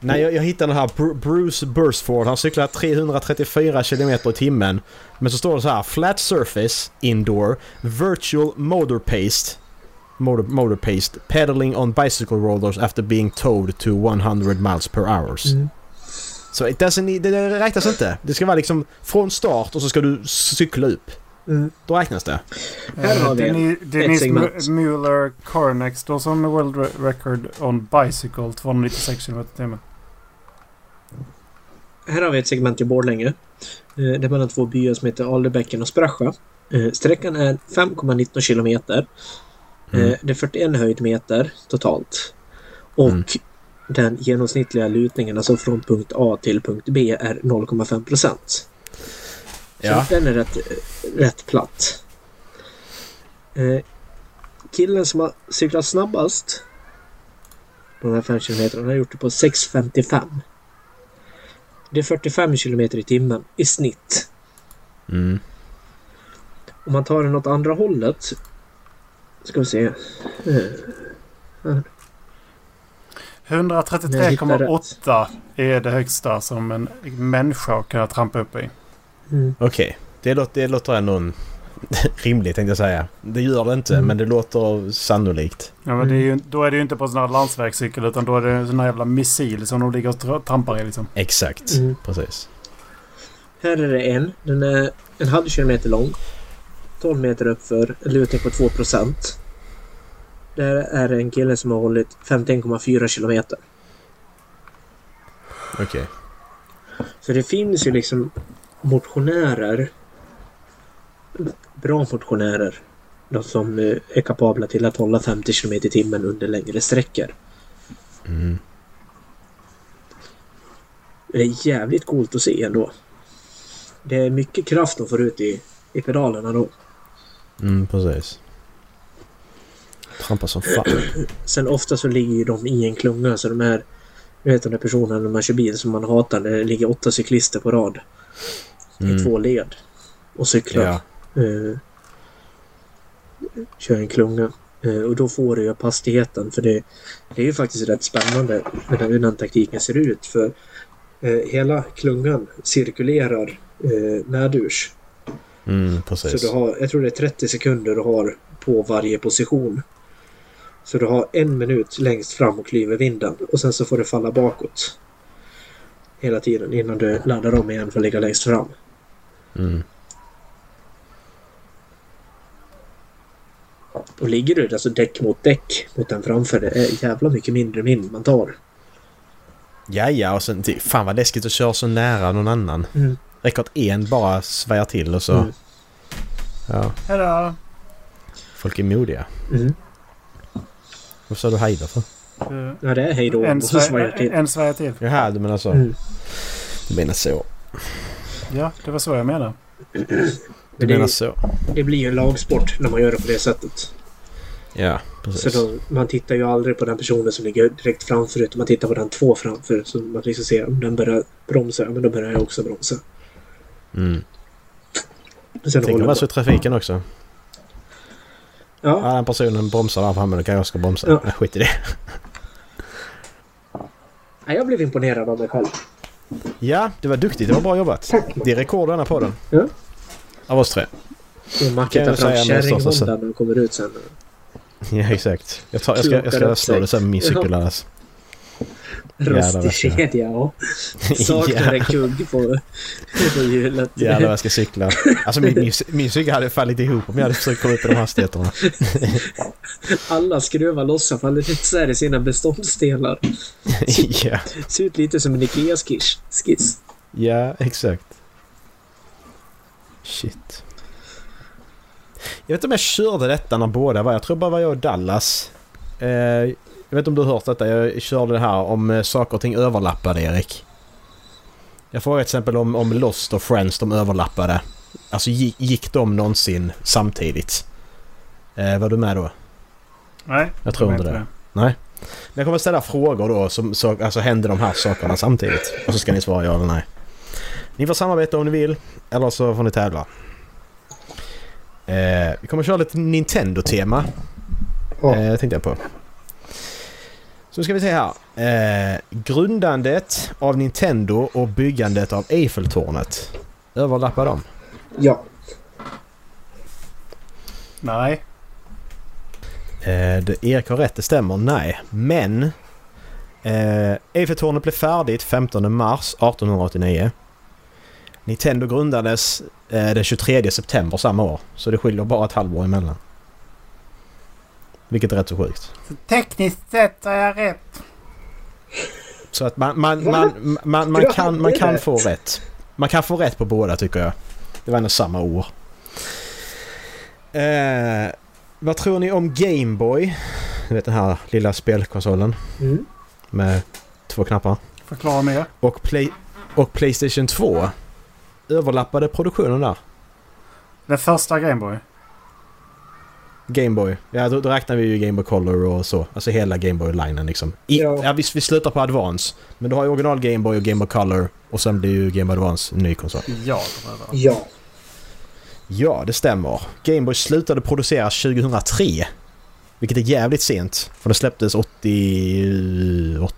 Nej, jag, jag hittade den här Bru- Bruce Bursford. Han cyklar 334 km i timmen. Men så står det så här. Flat surface, indoor, virtual motor paste. Motor, motor paste. Pedaling on bicycle rollers after being towed to 100 miles per hour. Mm. Så it doesn't, det, det räknas inte. Det ska vara liksom från start och så ska du cykla upp. Mm. Då räknas det. Här har vi Deni- Denise segment. Mu- Mueller Carnex står som World re- Record on Bicycle 296 km timmen. Här har vi ett segment i Borlänge. eh, Det är mellan två byar som heter Alderbäcken och Sprascha. Eh, Sträckan är 5,19 kilometer. Eh, Mm. Det är 41 höjdmeter totalt. Och Mm. den genomsnittliga lutningen, alltså från punkt A till punkt B, är 0,5 procent. Ja. Så den är rätt, rätt platt. Eh, killen som har cyklat snabbast på de här 5 kilometerna har gjort det på 6.55. Det är 45 kilometer i timmen i snitt. Mm. Om man tar den åt andra hållet. Ska vi se. Eh, 133,8 är det högsta som en människa har kunnat trampa upp i. Mm. Okej. Det, låter, det låter ändå en- rimligt tänkte jag säga. Det gör det inte, Mm. men det låter sannolikt. Ja, men det är ju, då är det ju inte på en sån här landsvägscykel utan då är det en sån här jävla missil som de ligger och tra- trampar i liksom. Exakt. Mm. Precis. Här är det en. Den är en halv kilometer lång. 12 meter uppför. En lutning på 2 procent. Där är det en kille som har hållit 51,4 kilometer. Okej. Så det finns ju liksom motionärer. Bra motionärer. De som eh, är kapabla till att hålla 50 km i timmen under längre sträckor. Mm. Det är jävligt coolt att se ändå. Det är mycket kraft de får ut i, i pedalerna då. Mm, precis. Trampa som fan. Sen ofta så ligger ju de i en klunga så de här... Du vet den där personen när man kör bil som man hatar. Det ligger åtta cyklister på rad i Mm. två led. Och cyklar. Ja. eh, kör en klunga. Eh, och då får du ju hastigheten för det, det är ju faktiskt rätt spännande hur den, hur den taktiken ser ut för eh, hela klungan cirkulerar eh, närdurs. Mm, Så precis. du har, jag tror det är 30 sekunder du har på varje position. Så du har en minut längst fram och klyver vinden och sen så får du falla bakåt. Hela tiden innan du laddar om igen för att ligga längst fram. Mm. Och ligger du alltså däck mot däck mot den framför det är jävla mycket mindre min man tar. Ja, ja, och sen... det- Fan vad läskigt att köra så nära någon annan. Mm. Räcker att en bara svajar till och så... Mm. Ja, Hejdå! folk är modiga. Mm. Vad sa du hej då för? Eh, Ja, det är hej då. En, Och så svajar svär, jag till. en svajar till. Jaha, du menar så. Mm. Du menar så. Ja, det var så jag menade. Du Men det, menar så. det blir ju en lagsport när man gör det på det sättet. Ja, precis. Så då, man tittar ju aldrig på den personen som ligger direkt framför utan man tittar på den två framför. Så man liksom ser om den börjar bromsa, ja, men då börjar jag också bromsa. Mm. Och Sen Tänk om håller det man. var så i trafiken också. Ja, Ja, den personen bromsar där framme. Då kan jag ska bromsa. Ja. Ja. Skit i det. Nej, jag blev imponerad av mig själv. Ja, det var duktigt. Det var bra jobbat. Det är rekord i denna podden. Ja. Av oss tre. Och Macke Kan tar jag fram säga med största kärringhonden när den kommer ut sen. Ja, exakt. Jag, tar, jag ska, jag ska Klokare slå det sen med min cykel annars. Jävlar, Rostig vad jag- kedja, ja. Saknar en kugg på, på hjulet. Jävlar vad jag ska cykla. Alltså min, min, min cykel hade fallit ihop om jag hade försökt komma upp i de hastigheterna. Alla skruvar loss och faller isär i sina beståndsdelar. ja. Ser ut lite som en IKEA-skiss. Skiss. ja, exakt. Shit. Jag vet inte om jag körde detta när båda var. Jag tror bara var jag och Dallas. Eh, jag vet inte om du har hört detta. Jag körde det här om eh, saker och ting överlappade, Erik. Jag frågade till exempel om, om Lost och Friends, de överlappade. Alltså gick, gick de någonsin samtidigt? Eh, var du med då? Nej, Jag tror de är inte det. Men jag kommer ställa frågor då, som, så, alltså händer de här sakerna samtidigt? Och så ska ni svara ja eller nej. Ni får samarbeta om ni vill, eller så får ni tävla. Eh, vi kommer köra lite Nintendo-tema, Ja. eh, tänkte jag på. Så nu ska vi se här. Eh, grundandet av Nintendo och byggandet av Eiffeltornet. Överlappar de? Ja. Nej. Eh, det, Erik har rätt, det stämmer. Nej. Men... Eh, Eiffeltornet blev färdigt 15 mars 1889. Nintendo grundades eh, den 23 september samma år. Så det skiljer bara ett halvår emellan. Vilket är rätt så sjukt. Så tekniskt sett har jag rätt. Så att man, man, Va? man, man, man, Du kan, man hade kan rätt. få rätt. Man kan få rätt på båda tycker jag. Det var ändå samma år. Eh, vad tror ni om Gameboy? Ni vet den här lilla spelkonsolen. Mm. med två knappar. Förklara mer. Och, Play- och Playstation 2 överlappade produktionen där. Den första Gameboy. Gameboy. Ja, då, då räknar vi ju Gameboy Color och så. Alltså hela Gameboy-linen liksom. I, ja. Ja. vi, vi slutar på Advance. Men du har ju original Gameboy och Gameboy Color. Och sen blir ju Gameboy Advance en ny konsol. Ja, det var det. Ja. Ja, det stämmer. Gameboy slutade produceras 2003. Vilket är jävligt sent. För det släpptes 88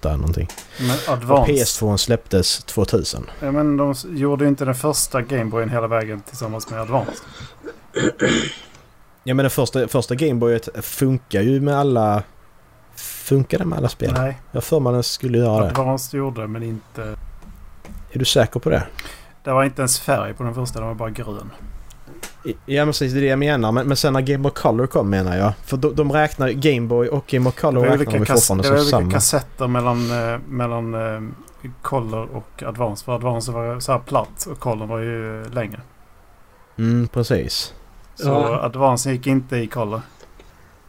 eller någonting. Men Och Advance. PS2 släpptes 2000. Ja, men de s- gjorde ju inte den första Gameboyen hela vägen tillsammans med Advance. Ja men den första, första Gameboyet funkar ju med alla... Funkar den med alla spel? Nej, Jag har för mig den skulle göra det. Advance gjorde det, men inte... Är du säker på det? Det var inte ens färg på den första, den var bara grön. I- Ja men precis, det är det jag menar. Men, men sen när Game Boy Color kom menar jag. För de, de räknar Gameboy och Game Boy Det Color var räknar de olika, kas- ju fortfarande det var som olika samma. kassetter mellan, eh, mellan eh, Color och Advance. För Advance var så här platt och Color var ju eh, längre. Mm, precis. Så Ja. Advance gick inte i Color.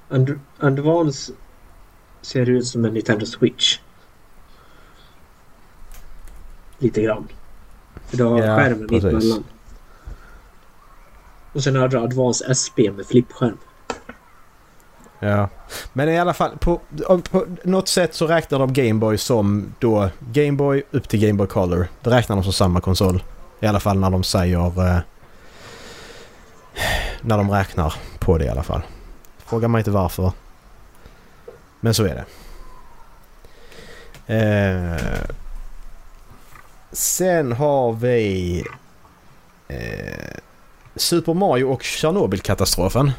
And- Advance ser ut som en Nintendo Switch. Lite grann. För du har Ja, skärmen mitt precis. emellan. Och sen hade du Advance SP med flippskärm. Ja. Men i alla fall, på, om- på något sätt så räknar de Gameboy som då Gameboy upp till Gameboy Color. Det räknar de som samma konsol. I alla fall när de säger... Eh, när de räknar på det i alla fall. Fråga mig inte varför. Men så är det. Eh, sen har vi... Eh, Super Mario och Tjernobylkatastrofen.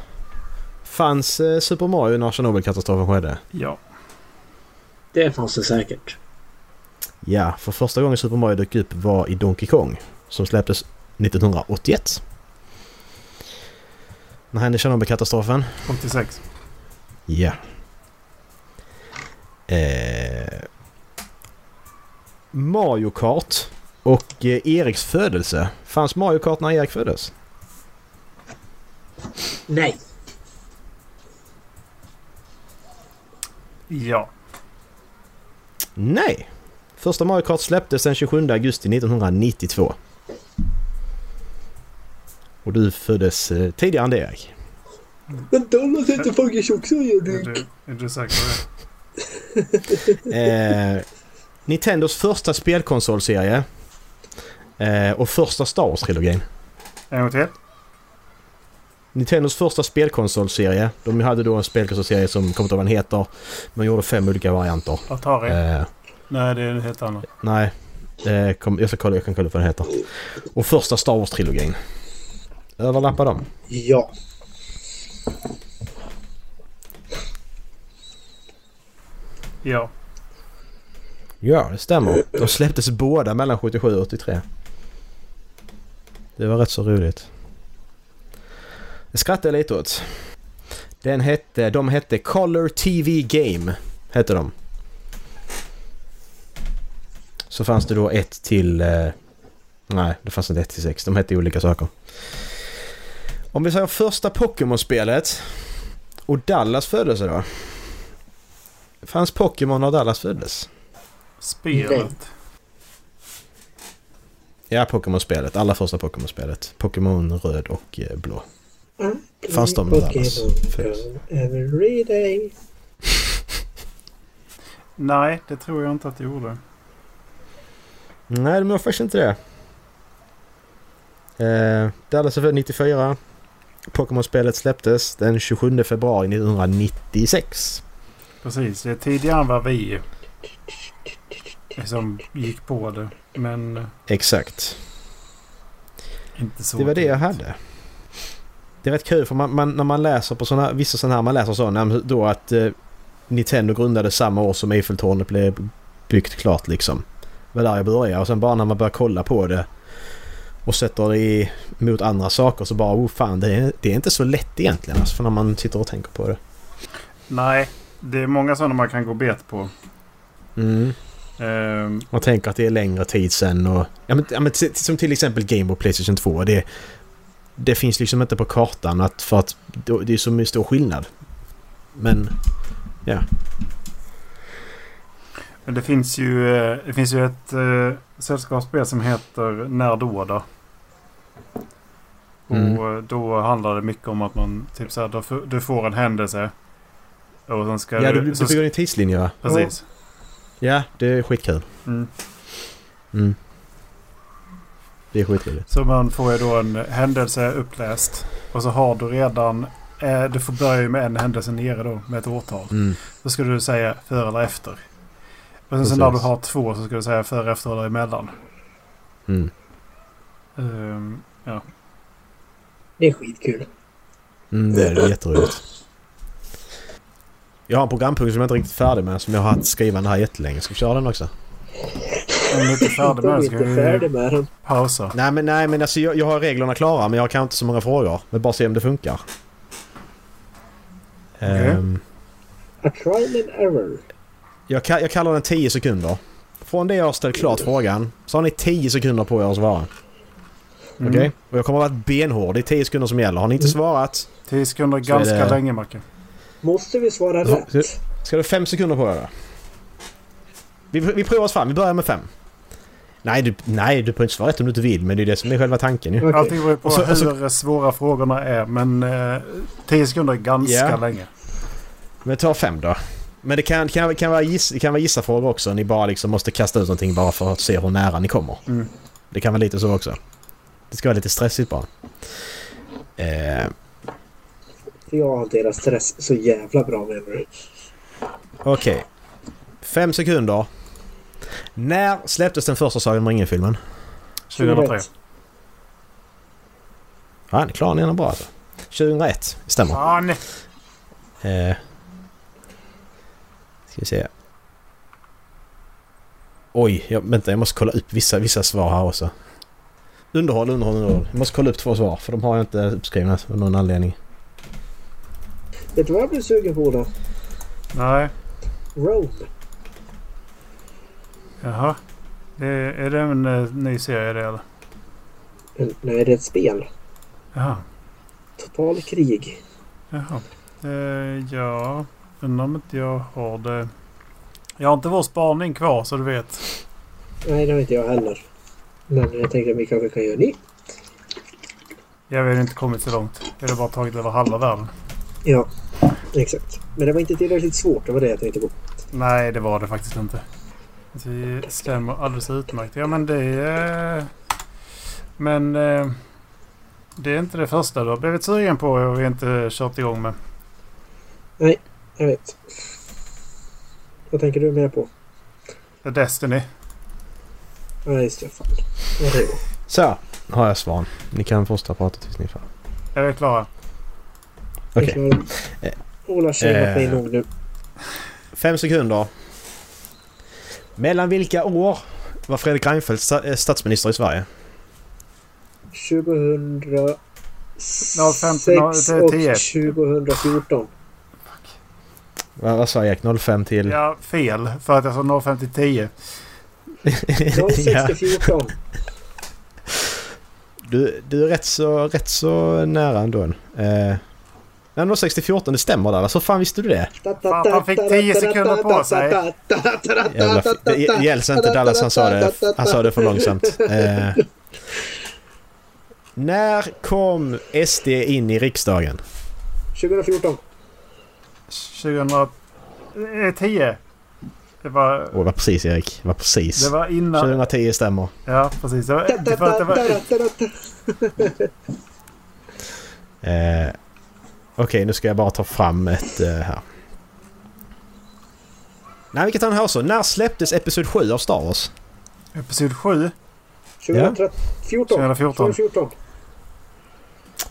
Fanns eh, Super Mario när Tjernobylkatastrofen skedde? Ja. Det fanns det säkert. Ja, för första gången Super Mario dök upp var i Donkey Kong som släpptes 1981. När hände Tjernobylkatastrofen? 86. Ja. Eh, Mario Kart och eh, Eriks födelse. Fanns Mario Kart när Erik föddes? Nej. Ja. Nej! Första Mario Kart släpptes den 27 augusti 1992. Och du föddes eh, tidigare än det Erik. Men Dallas inte fångats också gör Är du, är du säker på det? Eh, Nintendos första spelkonsolserie. Eh, och första Star Wars-trilogin. En gång till. Nintendos första spelkonsolserie. De hade då en spelkonsolserie som kommer inte ihåg vad den heter. Man gjorde fem olika varianter. Atari. Eh, Nej, det är en helt annan. Nej. Eh, kom, jag ska kolla, jag kan kolla upp vad den heter. Och första Star Wars-trilogin. Överlappar de? Ja. Ja. Ja, det stämmer. De släpptes båda mellan 77 och 83. Det var rätt så roligt. Jag skrattade lite åt. Den hette, de hette Color TV Game. Hette de. Så fanns det då ett till... Eh, nej, det fanns inte ett till sex. De hette olika saker. Om vi säger första Pokémon-spelet och Dallas föddes då. Fanns Pokémon när Dallas föddes? Spelet. Ja, Pokémon-spelet. Allra första Pokémon-spelet. Pokémon röd och eh, blå. Fanns de alltså? med Dallas? Pokémon Every day. Nej, det tror jag inte att det gjorde. Nej, de gör faktiskt inte det. Eh, Dallas är född 94. Pokémon-spelet släpptes den 27 februari 1996. Precis, det är tidigare än vad vi liksom gick på det. Men Exakt. inte så. Det var det jag tidigt. hade. Det är rätt kul för man, man, när man läser på såna, vissa sådana här, man läser sådana, men då att eh, Nintendo grundades samma år som Eiffeltornet blev byggt klart liksom. Det var där jag började och sen bara när man börjar kolla på det och sätter det i, mot andra saker så bara oh fan det är, det är inte så lätt egentligen alltså, för när man sitter och tänker på det. Nej, det är många sådana man kan gå bet på. Mm. Ehm, Man tänker att det är längre tid sen och... Ja, men, ja, men, t- som till exempel Game Boy Playstation 2. Det, det finns liksom inte på kartan att, för att då- det är så mycket stor skillnad. Men... Men det finns ju, eh, det finns ju ett eh, sällskapsspel som heter När då då. Och Mm. eh, då handlar det mycket om att man typ så här, då f- du får en händelse. Och sen ska Ja, du... du, du så, bygger en tidslinje va? precis. Ja, det är skitkul. Mm. Mm. Det är skitroligt. Så man får ju då en händelse uppläst. Och så har du redan... Eh, du får börja ju med en händelse nere då, med ett årtal. Mm. Då ska du säga före eller efter. Och sen så Precis. när du har två så ska du säga före, efter eller emellan. Mm. Ehm, Det är skitkul. Mm, det är det. jätteroligt. Jag har en programpunkt som jag inte är riktigt färdig med som jag har haft skrivande här jättelänge. Ska vi köra den också? om du inte är färdig De med är det så inte kan du ju färdiga med den. pausa. Nej men, nej, men alltså, jag, jag har reglerna klara men jag har kanske inte så många frågor. Men bara se om det funkar. Okej. Ehm, A trial and error. jag, ka- jag kallar den 10 sekunder. Från det jag har ställt klart frågan så har ni 10 sekunder på er att svara. Mm. Okej? Och jag kommer att vara benhård. Det är 10 sekunder som gäller. Har ni inte svarat 10 sekunder Så är ganska det- länge Macke. Måste vi svara Ja, rätt? så- ska du ha 5 sekunder på er då? Vi, vi provar oss fram. Vi börjar med 5. Nej du, nej, du behöver inte svara rätt om du inte vill men det är det som är själva tanken ju. Okej. Allting beror på Och så- och så- hur svåra frågorna är men eh, 10 sekunder är ganska Ja. länge. Men ta fem då. Men det kan, kan, kan, vara giss, det kan vara gissafrågor också. Ni bara liksom måste kasta ut någonting bara för att se hur nära ni kommer. Mm. Det kan vara lite så också. Det ska vara lite stressigt bara. Eh, För jag hanterar stress så jävla bra med mig. Okej. Fem sekunder. När släpptes den första Sagan om ringen-filmen? 2003. Ja, ni klarar ni den bra alltså. 2001. Stämmer. Fan! Eh, ska vi se. Oj, jag, vänta jag måste kolla upp vissa, vissa svar här också. Underhåll, underhåll, underhåll. Jag måste kolla upp två svar för de har jag inte uppskrivna av någon anledning. Vet du vad jag blev sugen på då? Nej. Rome. Jaha. Det, är det en eh, ny serie det eller? Eller, Nej, det är ett spel. Jaha. Total krig. Jaha. Eh, ja. Undrar om inte jag har det. Jag har inte vår spaning kvar så du vet. Nej, det har inte jag heller. Men jag tänker att vi kanske kan göra ni. Jag har inte kommit så långt. Jag har bara tagit över halva världen. Ja, exakt. Men det var inte tillräckligt svårt. Det var det jag tänkte på. Nej, det var det faktiskt inte. Det stämmer alldeles utmärkt. Ja, men det är... Men eh, det är inte det första du har blivit sugen på och vi har inte kört igång med. Jag vet. Vad tänker du mer på? The Destiny. Ja, just det. Fan. Ja, det är bra. Så, har jag svaren. Ni kan fortsätta prata tills ni är färdiga. Är vi klara? Okej, Jag klarar det. Ola har tjänat Eh. mig nog nu. fem sekunder. Mellan vilka år var Fredrik Reinfeldt sta- eh, statsminister i Sverige? 2006 och 2014. Vad vad sa Erik? 05 till... Ja, fel. För att jag sa 05 till 10. 06 till 14. Du, du är rätt så, rätt så nära ändå. Eh, nej, men 06 till 14, det stämmer där. Alltså, hur fan visste du det? Fan, han fick 10 sekunder på sig. Jävla f- Det det gälls inte Dallas, han sa det, han sa det för långsamt. Eh, när kom SD in i riksdagen? 2014. 2010. eh, Det var, Åh, det var precis Erik. Det var precis. det var innan... 2010 stämmer. Ja, precis. Det var, det var, det var, Eh, Okej, nu ska jag bara ta fram ett eh, här. Nej, vi kan ta den här så. När släpptes Episod 7 av Star Wars? episod 7. 2014. 2014. 2014.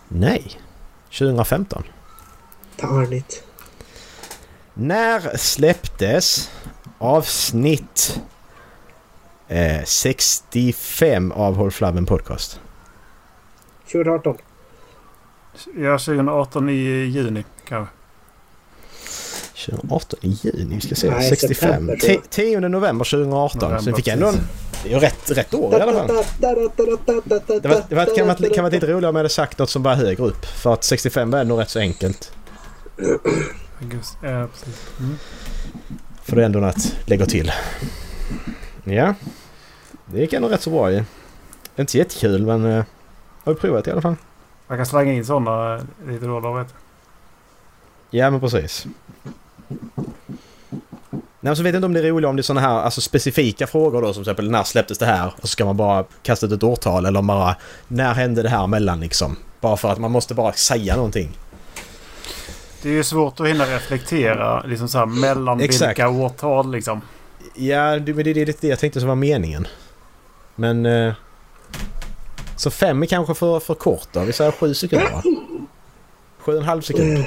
Nej. 2015. Tarnigt. När släpptes avsnitt eh, 65 av Håll Flabben Podcast? 2018. Ja, 2018 i juni kanske. 2018 i juni, vi ska se. Nej, 65. september, Te- 10 november 2018. så November, vi fick ändå en... Det är ju rätt, rätt år i alla fall. Det, var, det var, kan, vara, kan vara lite roligare om jag hade sagt något som var högre upp. För att 65 är nog rätt så enkelt. Augusti. Ja, precis. Mm. För det är ändå något att lägga till. Ja. Det gick ändå rätt så bra ju. Inte jättekul men... Eh, har vi provat i alla fall. Man kan slänga in sådana lite då och då. Vet. du. Ja men precis. Nej, men så vet jag inte om det är roligt om det är sådana här alltså, specifika frågor då som till exempel när släpptes det här? Och så ska man bara kasta ut ett årtal eller om bara när hände det här mellan liksom? Bara för att man måste bara säga någonting. Det är ju svårt att hinna reflektera liksom så här, mellan Exakt. vilka årtal liksom. Ja, det, men det, det är lite det jag tänkte som var meningen. Men... Eh, så fem är kanske för, för kort då? Vi säger sju sekunder va? Sju och en halv sekund. Eh,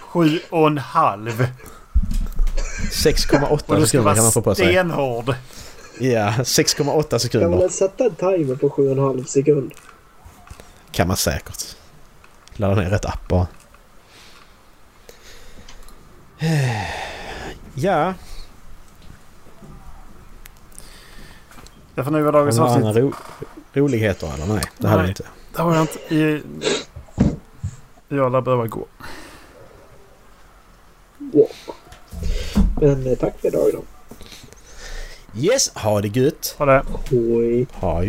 Sju och en halv. Och 6,8 du ska sekunder kan man få vara på sig. stenhård. Ja, 6,8 Kan sekunder. man sätta en timer på 7,5 sekund? Kan man säkert. Ladda ner rätt app bara. Ja, Därför nu var har dagens vi några andra avsnitt. ro- roligheter eller? Nej, det hade vi Nej. inte. Det har jag inte. I... Jag lär behöva gå. Wow. Men eh, tack för idag då. Yes, ha det gött! Ha det. Hoj. Ha